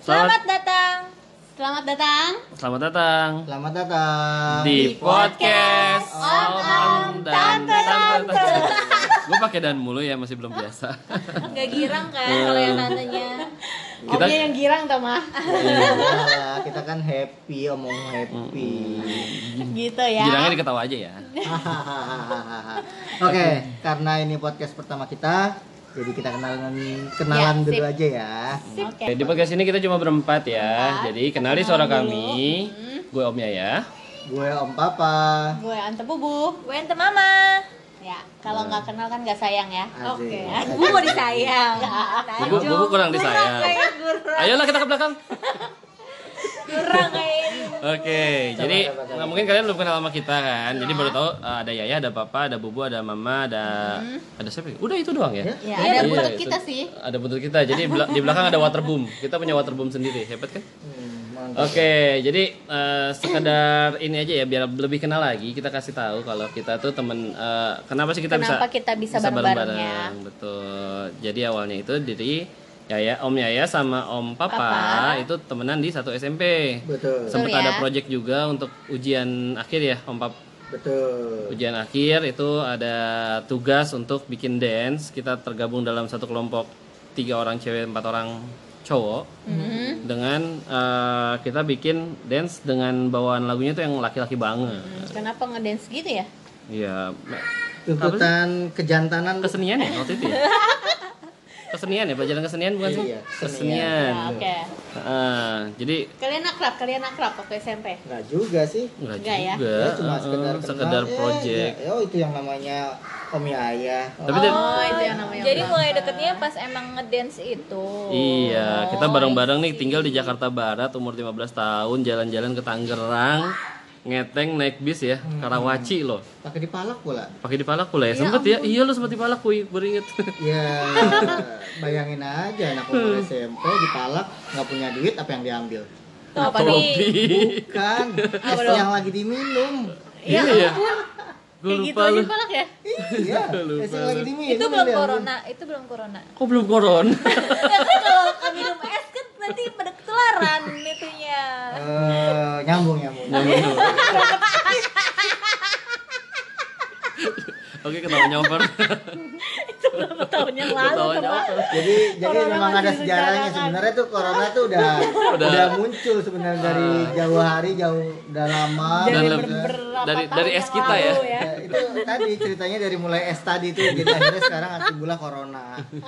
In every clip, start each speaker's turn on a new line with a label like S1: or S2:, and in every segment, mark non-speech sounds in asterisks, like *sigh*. S1: Selamat
S2: Selamat datang. Selamat datang.
S1: selamat datang
S3: Selamat datang.
S1: di podcast
S2: Om Om
S1: dan
S2: Tante
S1: Tante. *laughs*
S2: Tante.
S1: Gue pakai dan mulu ya masih belum biasa.
S2: Gak girang kan kalau yang tantenya.
S1: Hmm. Kita-
S2: Omnya yang girang tau mah.
S3: Iya, kita kan happy, omong happy.
S2: gitu ya.
S1: Bilangnya diketawa aja ya.
S3: Hahaha. Oke, karena ini podcast pertama kita, jadi kita kenalan kenalan
S2: Ya, sip.
S3: dulu aja ya.
S2: Sip.
S1: Oke, di podcast ini kita cuma berempat ya.
S2: Berempat.
S1: Jadi kenali suara
S2: Kenalan
S1: kami. Gue Omnya ya.
S3: Gue Om Papa.
S2: Gue Ante Bubu. Gue Ante Mama. Ya, kalau nggak kenal kan nggak sayang ya.
S3: Asik.
S2: Bubu mau disayang.
S1: Bubu, bubu kurang disayang. Ayolah kita ke belakang.
S2: Kurang kayak
S1: Oke, jadi
S3: sabar, sabar.
S1: nah, mungkin kalian belum kenal sama kita kan. Jadi baru tahu uh, ada Yaya, ada Papa, ada Bubu, ada Mama, ada ada siapa? ya? Udah itu doang ya.
S3: Ya.
S2: Ya,
S3: Iya,
S2: ada
S1: Iya,
S2: buntut
S1: itu.
S2: kita sih.
S1: Ada buntut kita. Jadi bela- di belakang ada waterboom. Kita punya waterboom sendiri. Hebat kan?
S3: Hmm, mantap.
S1: Oke, jadi eh, sekedar ini aja ya biar lebih kenal lagi kita kasih tahu kalau kita tuh temen eh, kenapa sih kita bisa
S2: Kenapa kita bisa bareng-barengnya?
S1: betul. Jadi awalnya itu dari Yaya, Om Yaya sama Om Papa,
S2: Papa.
S1: itu temenan di satu SMP.
S3: Betul.
S2: Sem-
S1: Sempat
S2: ya.
S1: ada project juga untuk ujian akhir ya, Om Pap.
S3: Betul.
S1: Ujian akhir itu ada tugas untuk bikin dance. Kita tergabung dalam satu kelompok tiga orang cewek, empat orang cowok
S2: Mhm.
S1: dengan eh, kita bikin dance dengan bawaan lagunya tuh yang laki-laki banget.
S2: Hmm, Kenapa ngedance gitu ya?
S1: Iya,
S3: Tuntutan kejantanan
S1: kesenian ya waktu itu ya.
S2: *laughs*
S1: Kesenian ya, pelajaran kesenian bukan sih?
S3: Iya,
S1: kesenian.
S2: Ya, Oke.
S1: Heeh, jadi
S2: Kalian akrab, kalian akrab waktu SMP.
S3: nggak juga sih.
S1: enggak
S2: Enggak ya?
S1: juga.
S3: Ya, cuma sekedar
S1: heeh,
S3: kenal.
S1: sekedar
S3: Eh,
S1: project.
S3: ya, oh, itu yang namanya Om Yaya.
S1: Tapi dari-
S2: Oh, itu yang namanya.
S4: Jadi
S2: orang.
S4: mulai deketnya pas emang ngedance itu.
S1: Iya, kita
S2: Oh,
S1: bareng-bareng nih tinggal di Jakarta Barat umur 15 tahun jalan-jalan ke Tangerang ngeteng naik bis ya
S2: Hmm.
S1: Karawaci loh
S3: pakai dipalak pula.
S1: pakai di Palaku lah ya, sempet ya iya lo sempet di Palaku ih, baru inget
S3: Ya, *laughs* bayangin aja anak umur SMP dipalak nggak punya duit apa yang diambil?
S4: Tuh,
S1: *laughs*
S4: apa nih?
S1: Topi
S3: Bukan, es yang lagi diminum.
S1: iya ya gue
S2: Kayak gitu
S1: lupa
S2: aja
S1: lu
S2: palak ya?
S3: Iya, es yang lagi diminum.
S4: Itu belum
S3: yang diambil.
S4: corona, itu belum corona.
S1: kok belum
S2: *laughs*
S1: koron
S4: Ya kan kalau kamu minum es kan nanti pada ketularan itunya.
S3: Eh, nyambung nyambung.
S1: Nah. oke ketawa nyoper
S2: Berapa tahun yang lalu
S1: ketawa
S2: tuh, Pak?
S1: nyoper
S3: Jadi jadi
S2: Corona
S3: memang ada
S2: masih
S3: sejarahnya
S2: direncanakan.
S3: sebenarnya tuh corona tuh udah
S1: Udah.
S3: udah, muncul sebenarnya dari jauh hari jauh udah lama.
S1: Dan
S3: Udah-
S1: lebih-
S2: Berapa
S1: Dari-
S2: tahun
S1: dari
S2: yang
S1: es kita ya?
S2: lalu
S3: Ya, itu tadi ceritanya dari mulai es tadi tuh jadi akhirnya sekarang akibatnya corona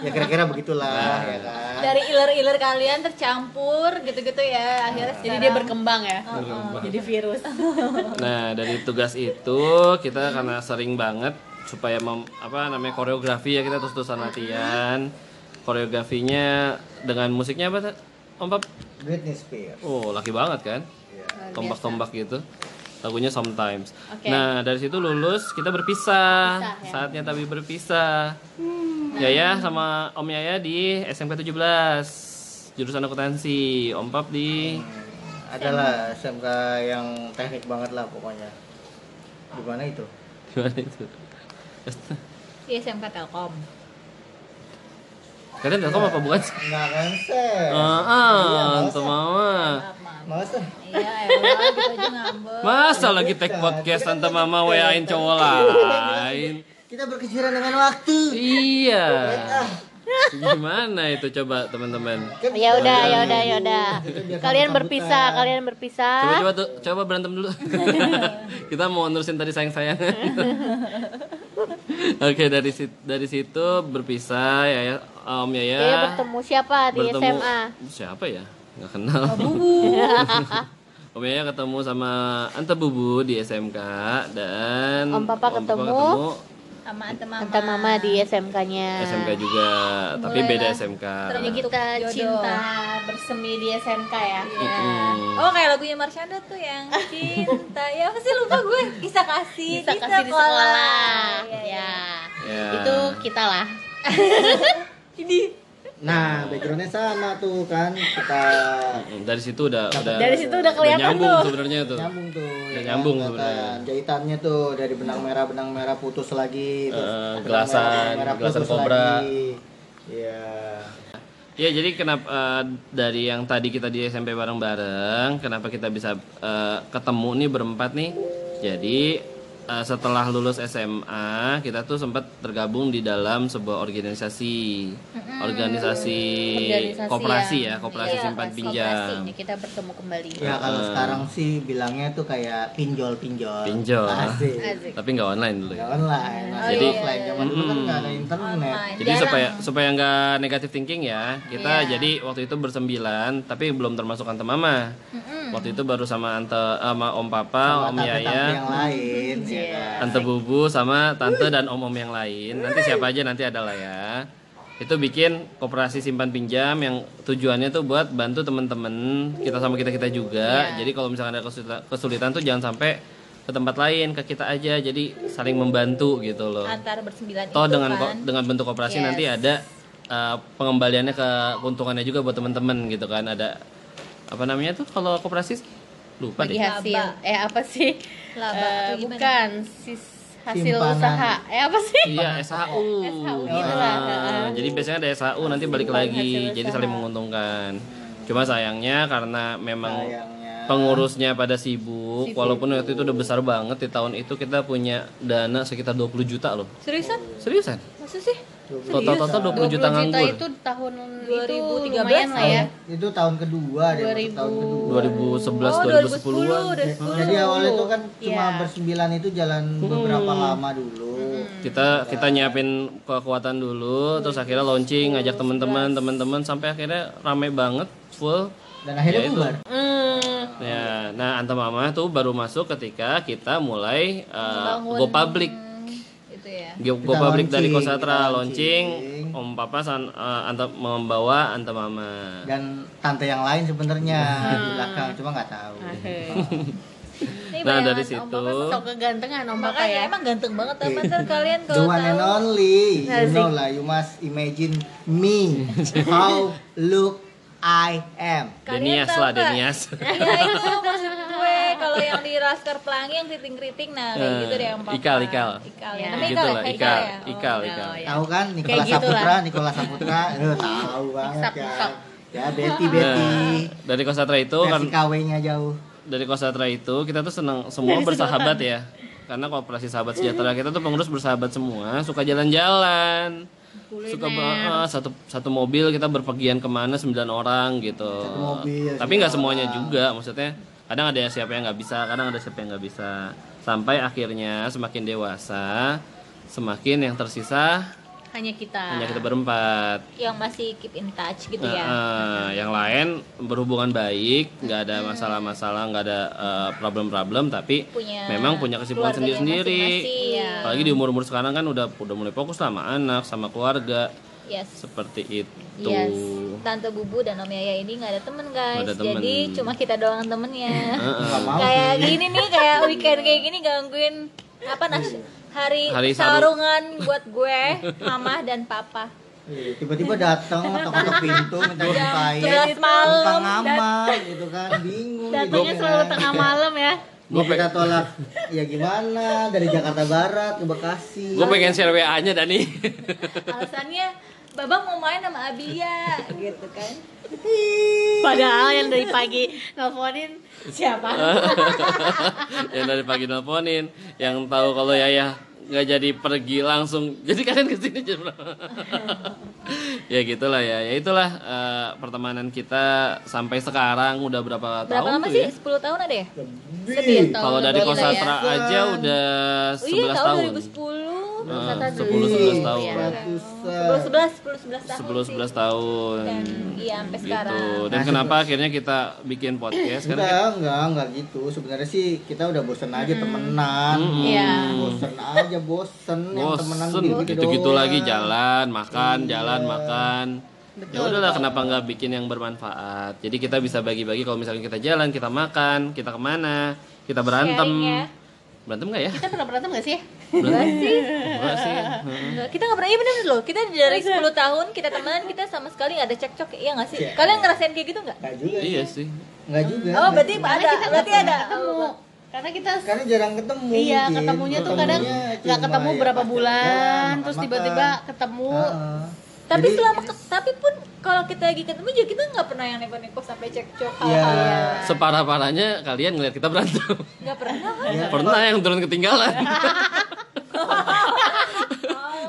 S3: ya kira-kira begitulah ya kan
S4: Dari iler-iler kalian tercampur gitu-gitu ya. Akhirnya
S2: Jadi dia berkembang ya.
S4: Oh,
S2: Jadi virus.
S1: Nah dari tugas itu kita karena sering banget supaya mem- apa namanya koreografi ya kita terus terusan latihan koreografinya dengan musiknya apa Tat? Om Pap?
S3: Britney Spears ya.
S1: Oh laki banget kan? Tombak-tombak gitu lagunya sometimes.
S2: Oke.
S1: Nah dari situ lulus kita berpisah,
S2: Berpisah, ya. Hmm.
S1: saatnya tapi berpisah. Yaya sama Om Yaya di SMK 17 jurusan akuntansi, Om Pap di *laughs*
S3: adalah SMK yang teknik banget lah pokoknya di mana itu
S1: gimana itu?
S4: di SMK Telkom.
S1: Kalian telkom apa bukan? sih?
S3: nggak konsen
S1: Ah,
S3: Iya,
S1: ah,
S3: males
S1: untuk
S3: ah.
S1: mama.
S3: males ah.
S4: Iya, elah gitu aja ngambek.
S1: Masa lagi tag podcast tante mama WA-in cowok lain.
S3: kita berkejaran dengan waktu
S1: Iya. Gimana itu coba teman-teman?
S3: Kan-
S2: *laughs* Ya udah, ya udah, ya udah.
S3: Itu biar
S2: Kalian
S3: sambut-sambutan.
S2: berpisah, kalian berpisah.
S1: Coba coba tuh, coba berantem dulu. Kita mau nerusin tadi sayang-sayang. Oke, dari situ, dari situ berpisah ya ya Om Yaya.
S2: Jadi Iya, bertemu siapa di SMA?
S1: Siapa ya? Nggak kenal. *laughs* Om Yaya ketemu sama Ante Bubu di SMK dan
S2: Om Papa ketemu.
S4: Sama Ante Mama.
S2: Tante Mama di SMK-nya.
S1: SMK juga, tapi beda SMK.
S2: Jadi kita
S4: Jodoh.
S2: cinta bersemi di SMK ya.
S1: Iya.
S4: Ya.
S1: Hmm,
S4: Oh kayak lagunya Marsyanda tuh yang cinta ya pasti lupa gue kisah kasih
S2: Kita kasih di sekolah.
S4: Iya, iya.
S2: Ya.
S1: Ya.
S2: Itu kita lah.
S3: nah backgroundnya sama tuh kan kita
S1: Mm, dari situ udah udah
S2: Dari situ udah kelihatan
S1: nyambung
S2: tuh.
S1: sebenarnya tuh.
S3: nyambung tuh ya kan,
S1: nyambung
S3: kelihatan.
S1: sebenarnya.
S3: jahitannya tuh dari benang merah benang merah putus lagi terus
S1: Eh,
S3: benang
S1: gelasan,
S3: merah, benang merah
S1: gelasan
S3: putus
S1: kobra.
S3: lagi. Iya.
S1: Ya jadi kenapa eh, dari yang tadi kita di SMP bareng-bareng, kenapa kita bisa eh, ketemu nih berempat nih? Jadi eh, setelah lulus SMA kita tuh sempat tergabung di dalam sebuah organisasi, organisasi,
S2: Organisasi
S1: koperasi ya,
S2: yang-
S1: koperasi
S2: iya,
S1: simpan
S2: koperasi.
S1: pinjam.
S2: Koperasi, kita bertemu kembali
S3: Ya kalau sekarang sih bilangnya tuh kayak pinjol-pinjol.
S1: Pinjol.
S2: Asik
S3: Asik.
S2: Oh, iya,
S1: Tapi nggak online dulu
S3: Nggak
S1: ya.
S3: online. masih
S1: Jadi-
S3: offline zaman dulu kan nggak ada internet.
S4: Online.
S1: Jadi
S4: Jarang.
S1: supaya supaya nggak negatif thinking ya, kita
S2: Iya.
S1: jadi waktu itu bersembilan, tapi belum termasuk ante mama. Waktu itu baru sama ante sama om
S3: Sama
S1: papa, om iya,
S3: tapi-tapi
S1: yaya,
S3: yang lain. ya
S2: Iya.
S3: kan?
S1: Tante Bubu sama tante dan om-om yang lain. Nanti siapa aja nanti ada lah ya. Itu bikin koperasi simpan pinjam yang tujuannya tuh buat bantu temen-temen kita sama kita-kita juga.
S4: Iya.
S1: Jadi kalau misalkan ada kesulita- kesulitan tuh jangan sampai ke tempat lain, ke kita aja. Jadi saling membantu gitu loh.
S4: antara bersembilan
S1: Toh
S4: itu
S1: dengan
S4: kan.
S1: ko- dengan bentuk koperasi nanti ada uh, pengembaliannya ke keuntungannya juga buat temen-temen gitu kan. Ada apa namanya tuh kalau koperasi lupa
S2: bagi
S1: deh.
S2: hasil eh apa sih Eh,
S4: Laba atau gimana?
S2: bukan sis- hasil
S3: Simpanan.
S2: usaha eh apa sih
S1: Iya, SHU.
S2: SHU
S1: Ah,
S2: gitu lah.
S1: jadi biasanya ada SHU nanti balik
S2: Simpan
S1: lagi.
S2: hasil
S1: Jadi
S2: usaha.
S1: saling menguntungkan. Cuma sayangnya karena memang
S3: Sayangnya.
S1: pengurusnya pada sibuk, walaupun waktu itu udah besar banget di tahun itu kita punya dana sekitar 20 juta loh.
S4: seriusan
S1: Seriusan?
S4: maksud sih
S1: Total total 20 juta
S2: 20 juta
S1: nganggur.
S2: itu tahun 2013 itu
S4: 2013
S2: lumayan lah ya
S3: Itu tahun kedua deh, masuk tahun kedua.
S4: Oh,
S2: Oh,
S1: 2011 2010-an.
S4: udah
S3: Jadi awalnya itu kan cuma
S2: Iya. Hmm.
S3: bersembilan itu jalan
S1: Hmm.
S3: beberapa lama dulu.
S1: Kita kita nyiapin kekuatan dulu, terus akhirnya launching ngajak teman-teman, teman-teman sampai akhirnya ramai banget full
S3: Dan akhirnya
S1: Ya, itu.
S3: bubar.
S1: Ya, nah Anta Mama tuh baru masuk ketika kita mulai uh, go public.
S4: itu ya
S1: Go, go
S3: Kita
S1: public dari
S3: launching,
S1: Kosatra
S3: kita
S1: launching,
S3: launching.
S1: Om Papa san, uh, Anta membawa Anta Mama.
S3: Dan tante yang lain sebenarnya
S2: Hmm.
S3: di belakang cuma nggak tahu.
S1: Nah, dari situ
S2: sok kegantengan om papa
S4: makanya
S2: ya
S4: emang ganteng banget teman
S2: *laughs*
S4: ter kalian
S3: The
S4: kalau
S3: one and
S4: tahu
S3: only, you
S2: Asik.
S3: know lah, you must imagine
S2: *laughs*
S3: me, how look I am.
S1: Denias
S4: tahu
S1: lah,
S4: nggak?
S1: Denias.
S4: *laughs* ya itu maksud gue kalau yang di Laskar Pelangi yang kriting-kriting nah kayak
S1: Eh,
S4: gitu deh yang papa
S1: Ikal, Ikal.
S2: Ya.
S4: ikal ya.
S1: Gitu
S4: Namanya
S1: lah,
S4: ya?
S1: Ikal,
S4: ya? Oh.
S1: Ikal, Ikal.
S2: Oh, ya.
S3: Tahu kan Nikola
S2: Kayak gitu
S3: Saputra,
S2: lah.
S3: Nikola Saputra, eh, tahu banget
S2: Sak,
S3: kan.
S2: sak.
S3: Ya Betty
S1: Nah,
S3: Betty.
S1: dari Kosatra itu kan
S3: Versi KW-nya jauh.
S1: dari Kosatra itu kita tuh senang semua bersahabat ya. Karena kooperasi sahabat sejahtera kita tuh pengurus bersahabat semua, suka jalan-jalan. Suka ba- ah, satu satu mobil kita berpergian kemana sembilan orang gitu.
S3: Satu mobil,
S1: Tapi nggak semuanya juga, maksudnya kadang ada siapa yang nggak bisa, kadang ada siapa yang nggak bisa. Sampai akhirnya semakin dewasa, semakin yang tersisa
S2: hanya kita
S1: hanya kita berempat.
S4: yang masih keep in touch gitu
S1: Nah,
S4: ya
S1: eh, yang lain berhubungan baik, nggak ada
S4: Hmm.
S1: masalah-masalah, nggak ada eh, problem-problem, tapi
S4: Punya
S1: memang punya kesibukan
S4: keluarganya
S1: sendiri-sendiri.
S4: masing-masing. Iya.
S1: Apalagi di umur-umur sekarang kan udah udah mulai fokus sama anak, sama keluarga,
S4: Iya. yes
S1: seperti itu.
S4: Yes. Tante Bubu dan Om Yaya ini nggak ada temen guys,
S1: Nggak ada temen.
S4: jadi cuma kita doang
S1: *laughs*
S4: temennya.
S1: Heeh.
S3: Nggak mau
S4: kayak
S2: gitu.
S3: sih.
S4: gini nih, kayak weekend kayak gini gangguin apa nas hari,
S1: Hari saru.
S4: sarungan buat gue, mama dan papa.
S3: Iya, tiba-tiba datang ketok-ketok
S2: *laughs*
S3: pintu minta jumpai
S4: sebelas malam,
S3: numpang ngamar gitu kan bingung
S2: datangnya selalu tengah malam ya
S1: *laughs*
S3: gue kita tolak ya gimana dari Jakarta Barat ke Bekasi
S1: Gue pengen share WA-nya Dani. *laughs*
S4: Alasannya Babang mau main sama Abi ya, gitu
S1: *laughs*
S4: kan.
S2: padahal yang dari pagi nelfonin
S1: Eh,
S2: siapa
S1: yang dari pagi nelponin, yang tahu kalau Yaya nggak jadi pergi langsung. Jadi kalian kesini jam
S4: *laughs*
S1: berapa? ya gitulah ya. Ya itulah eh, pertemanan kita sampai sekarang udah berapa,
S4: Berapa
S1: tahun
S4: lama
S1: tuh
S4: sih?
S1: ya?
S4: 10 tahun ada ya?
S3: Lebih.
S2: Tahun
S1: Kalau dari
S2: berapa
S1: Kosatra aja udah 11
S4: iya, tahun
S1: tahun.
S4: 2010.
S1: Eh,
S2: Kosatra
S4: iya.
S1: 10 11 tahun.
S3: Iya. ratusan
S4: 10 11, 10 11 tahun.
S1: 10 11 tahun.
S4: Dan iya sampai sekarang.
S1: Gitu. Dan kenapa akhirnya kita bikin podcast? Karena
S3: enggak enggak enggak gitu sebenarnya sih kita udah bosen aja temenan
S2: Hmm. Iya.
S3: bosen aja bosen yang temenan
S1: Hmm. bosen
S3: gitu Iya.
S1: gitu-gitu lagi jalan makan jalan makan ya udahlah kenapa nggak bikin yang bermanfaat jadi kita bisa bagi-bagi kalau misalnya kita jalan kita makan kita kemana kita berantem
S4: Sharing ya.
S1: berantem
S4: *laughs*
S1: nggak ya
S2: kita pernah berantem gak sih
S1: berantem sih sih
S4: Enggak, kita nggak pernah, iya bener loh, kita dari 10 tahun kita teman, kita sama sekali nggak ada cekcok, iya nggak sih? Kalian ngerasain kayak gitu nggak?
S3: enggak juga
S1: iya sih
S3: enggak juga
S4: Oh, berarti ada, berarti ada.
S2: ketemu karena kita
S3: karena jarang ketemu
S2: iya
S3: mungkin.
S2: ketemunya tuh kadang
S3: Ketemunya
S2: nggak
S3: cuma
S2: ketemu
S3: ya
S2: berapa
S3: pas jalan,
S2: bulan
S3: makan-makan.
S2: terus tiba-tiba ketemu
S3: Heeh.
S4: Tapi
S3: Jadi-
S4: selama ke- tapi pun kalau kita lagi ketemu juga kita nggak pernah yang neko-neko sampai cekcok
S2: Oh,
S3: Iya.
S4: hal-hal yang
S1: Separah parahnya kalian ngeliat kita berantem.
S4: nggak pernah. kan?
S3: Iya.
S1: Pernah yang turun
S2: *laughs*
S1: ketinggalan.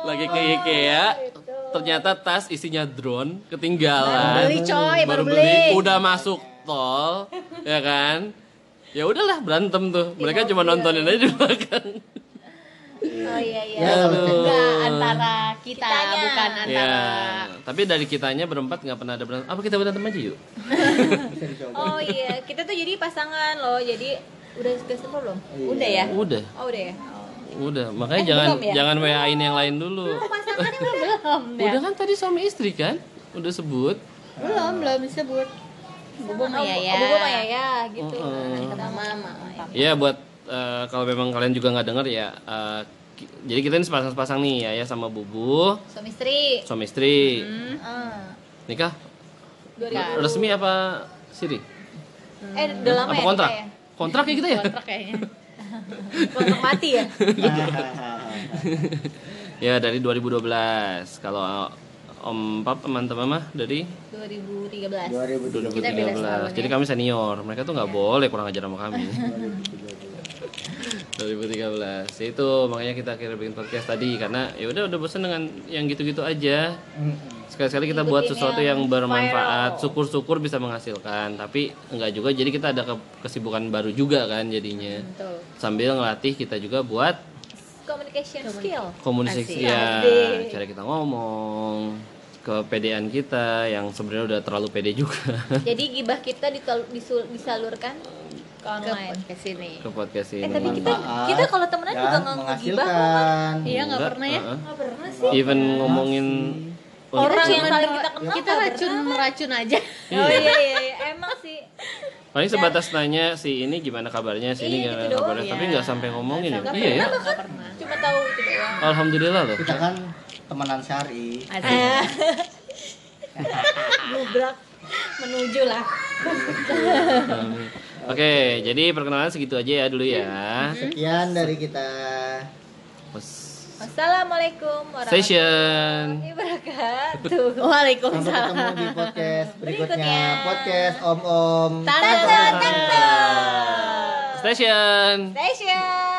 S1: Lagi ke
S2: Oh,
S1: IKEA,
S2: gitu.
S1: ternyata tas isinya drone ketinggalan.
S2: Baru beli, coy, baru beli.
S1: Udah masuk tol, ya kan? Ya udahlah berantem tuh.
S2: Iya,
S1: Mereka cuma nontonin aja di belakang.
S2: Oh iya iya.
S3: Ya, kalau
S4: gitu.
S1: Aduh.
S2: Enggak antara kita
S4: Kitanya.
S2: bukan
S1: Ya,
S2: antara.
S1: tapi dari kitanya berempat nggak pernah ada berantem. Apa kita berantem aja yuk?
S3: bisa dicoba
S4: Oh iya, kita tuh jadi pasangan loh. Jadi udah kesel belum?
S3: Iya.
S4: Udah ya?
S1: Udah,
S4: Oh udah ya. Oh.
S1: udah. Makanya
S4: Eh,
S1: jangan
S4: belum ya?
S1: jangan WA-in yang lain dulu.
S4: Pasangannya belum
S2: Belum ya.
S1: Udah kan tadi suami istri kan? Udah sebut.
S2: Belum, belum disebut. Bubu sama Yaya.
S4: Bubu sama Yaya Oh, gitu.
S1: Heeh.
S2: Sama Mama.
S1: Ya buat eh, kalau memang kalian juga nggak dengar ya. eh, ki- jadi kita ini sepasang-sepasang nih ya, ya sama Bubu,
S2: Suami istri.
S1: suami istri.
S4: Hmm.
S2: Heeh.
S1: Nikah
S4: 2000.
S1: resmi apa siri?
S4: Eh udah lama
S1: apa
S4: ya
S1: kontrak?
S4: nikah ya?
S1: Kontrak ya kita ya?
S2: Kontrak *laughs* kayaknya.
S4: Kontrak mati ya?
S1: *laughs*
S3: *laughs*
S1: ya dari 2012. Kalau eh, Om Pap teman-teman mah dari
S2: 2013.
S3: 2013
S2: Kita beda setahun
S1: 2013.
S4: ya?
S1: Jadi kami senior. Mereka tuh
S4: Iya.
S1: nggak boleh kurang ajar sama
S4: *laughs*
S1: kami. 2013 Ya itu makanya kita akhirnya bikin podcast tadi karena ya udah udah bosan dengan yang gitu-gitu aja
S3: Mm-mm.
S1: sekali-sekali kita buat sesuatu yang bermanfaat syukur-syukur bisa menghasilkan tapi enggak juga jadi kita ada ke- kesibukan baru juga kan jadinya
S2: Betul.
S1: sambil ngelatih kita juga buat
S4: Communication skill.
S1: komunikasi
S2: Asik.
S1: ya
S4: Asik.
S1: cara kita ngomong kepedean kita yang sebenarnya udah terlalu pede juga *laughs*
S4: Jadi gibah kita dital- disul- disalurkan
S2: Ke
S4: ke online.
S2: podcast ini.
S1: ke podcast
S4: Eh
S1: ini
S4: tapi kita
S3: Manfaat
S4: kita kalau temenan juga
S3: dan
S4: nggak ngegibah kok.
S3: menghasilkan
S2: Iya nggak
S1: Enggak,
S2: pernah ya.
S1: uh-uh.
S4: Nggak pernah sih.
S1: even ngomongin
S3: Iya.
S4: Orang
S1: Paling-
S4: yang paling kita kenal
S2: Kita
S4: nggak
S2: racun meracun aja.
S4: pernah. Oh iya iya iya. emang sih.
S1: paling sebatas nanya si ini gimana kabarnya si ini
S4: Iya,
S1: gimana
S4: gitu doang.
S1: kabarnya tapi nggak sampai ngomongin ya
S2: Nggak
S1: iya ya
S2: Nggak pernah.
S4: Cuma tahu itu doang.
S1: alhamdulillah loh
S3: kita kan temenan sehari
S2: Asik.
S4: Gubrak
S2: Menuju lah.
S1: Amin. *laughs* oke jadi perkenalan segitu aja ya dulu ya
S3: sekian dari kita
S1: Pos-
S4: Wassalamualaikum warahmatullahi
S1: station
S4: Iya. wabarakatuh.
S3: sampai
S2: Waalaikumsalam.
S3: ketemu di podcast berikutnya
S4: Berikutnya.
S3: podcast om om
S2: Tante, tante.
S1: station
S4: Station.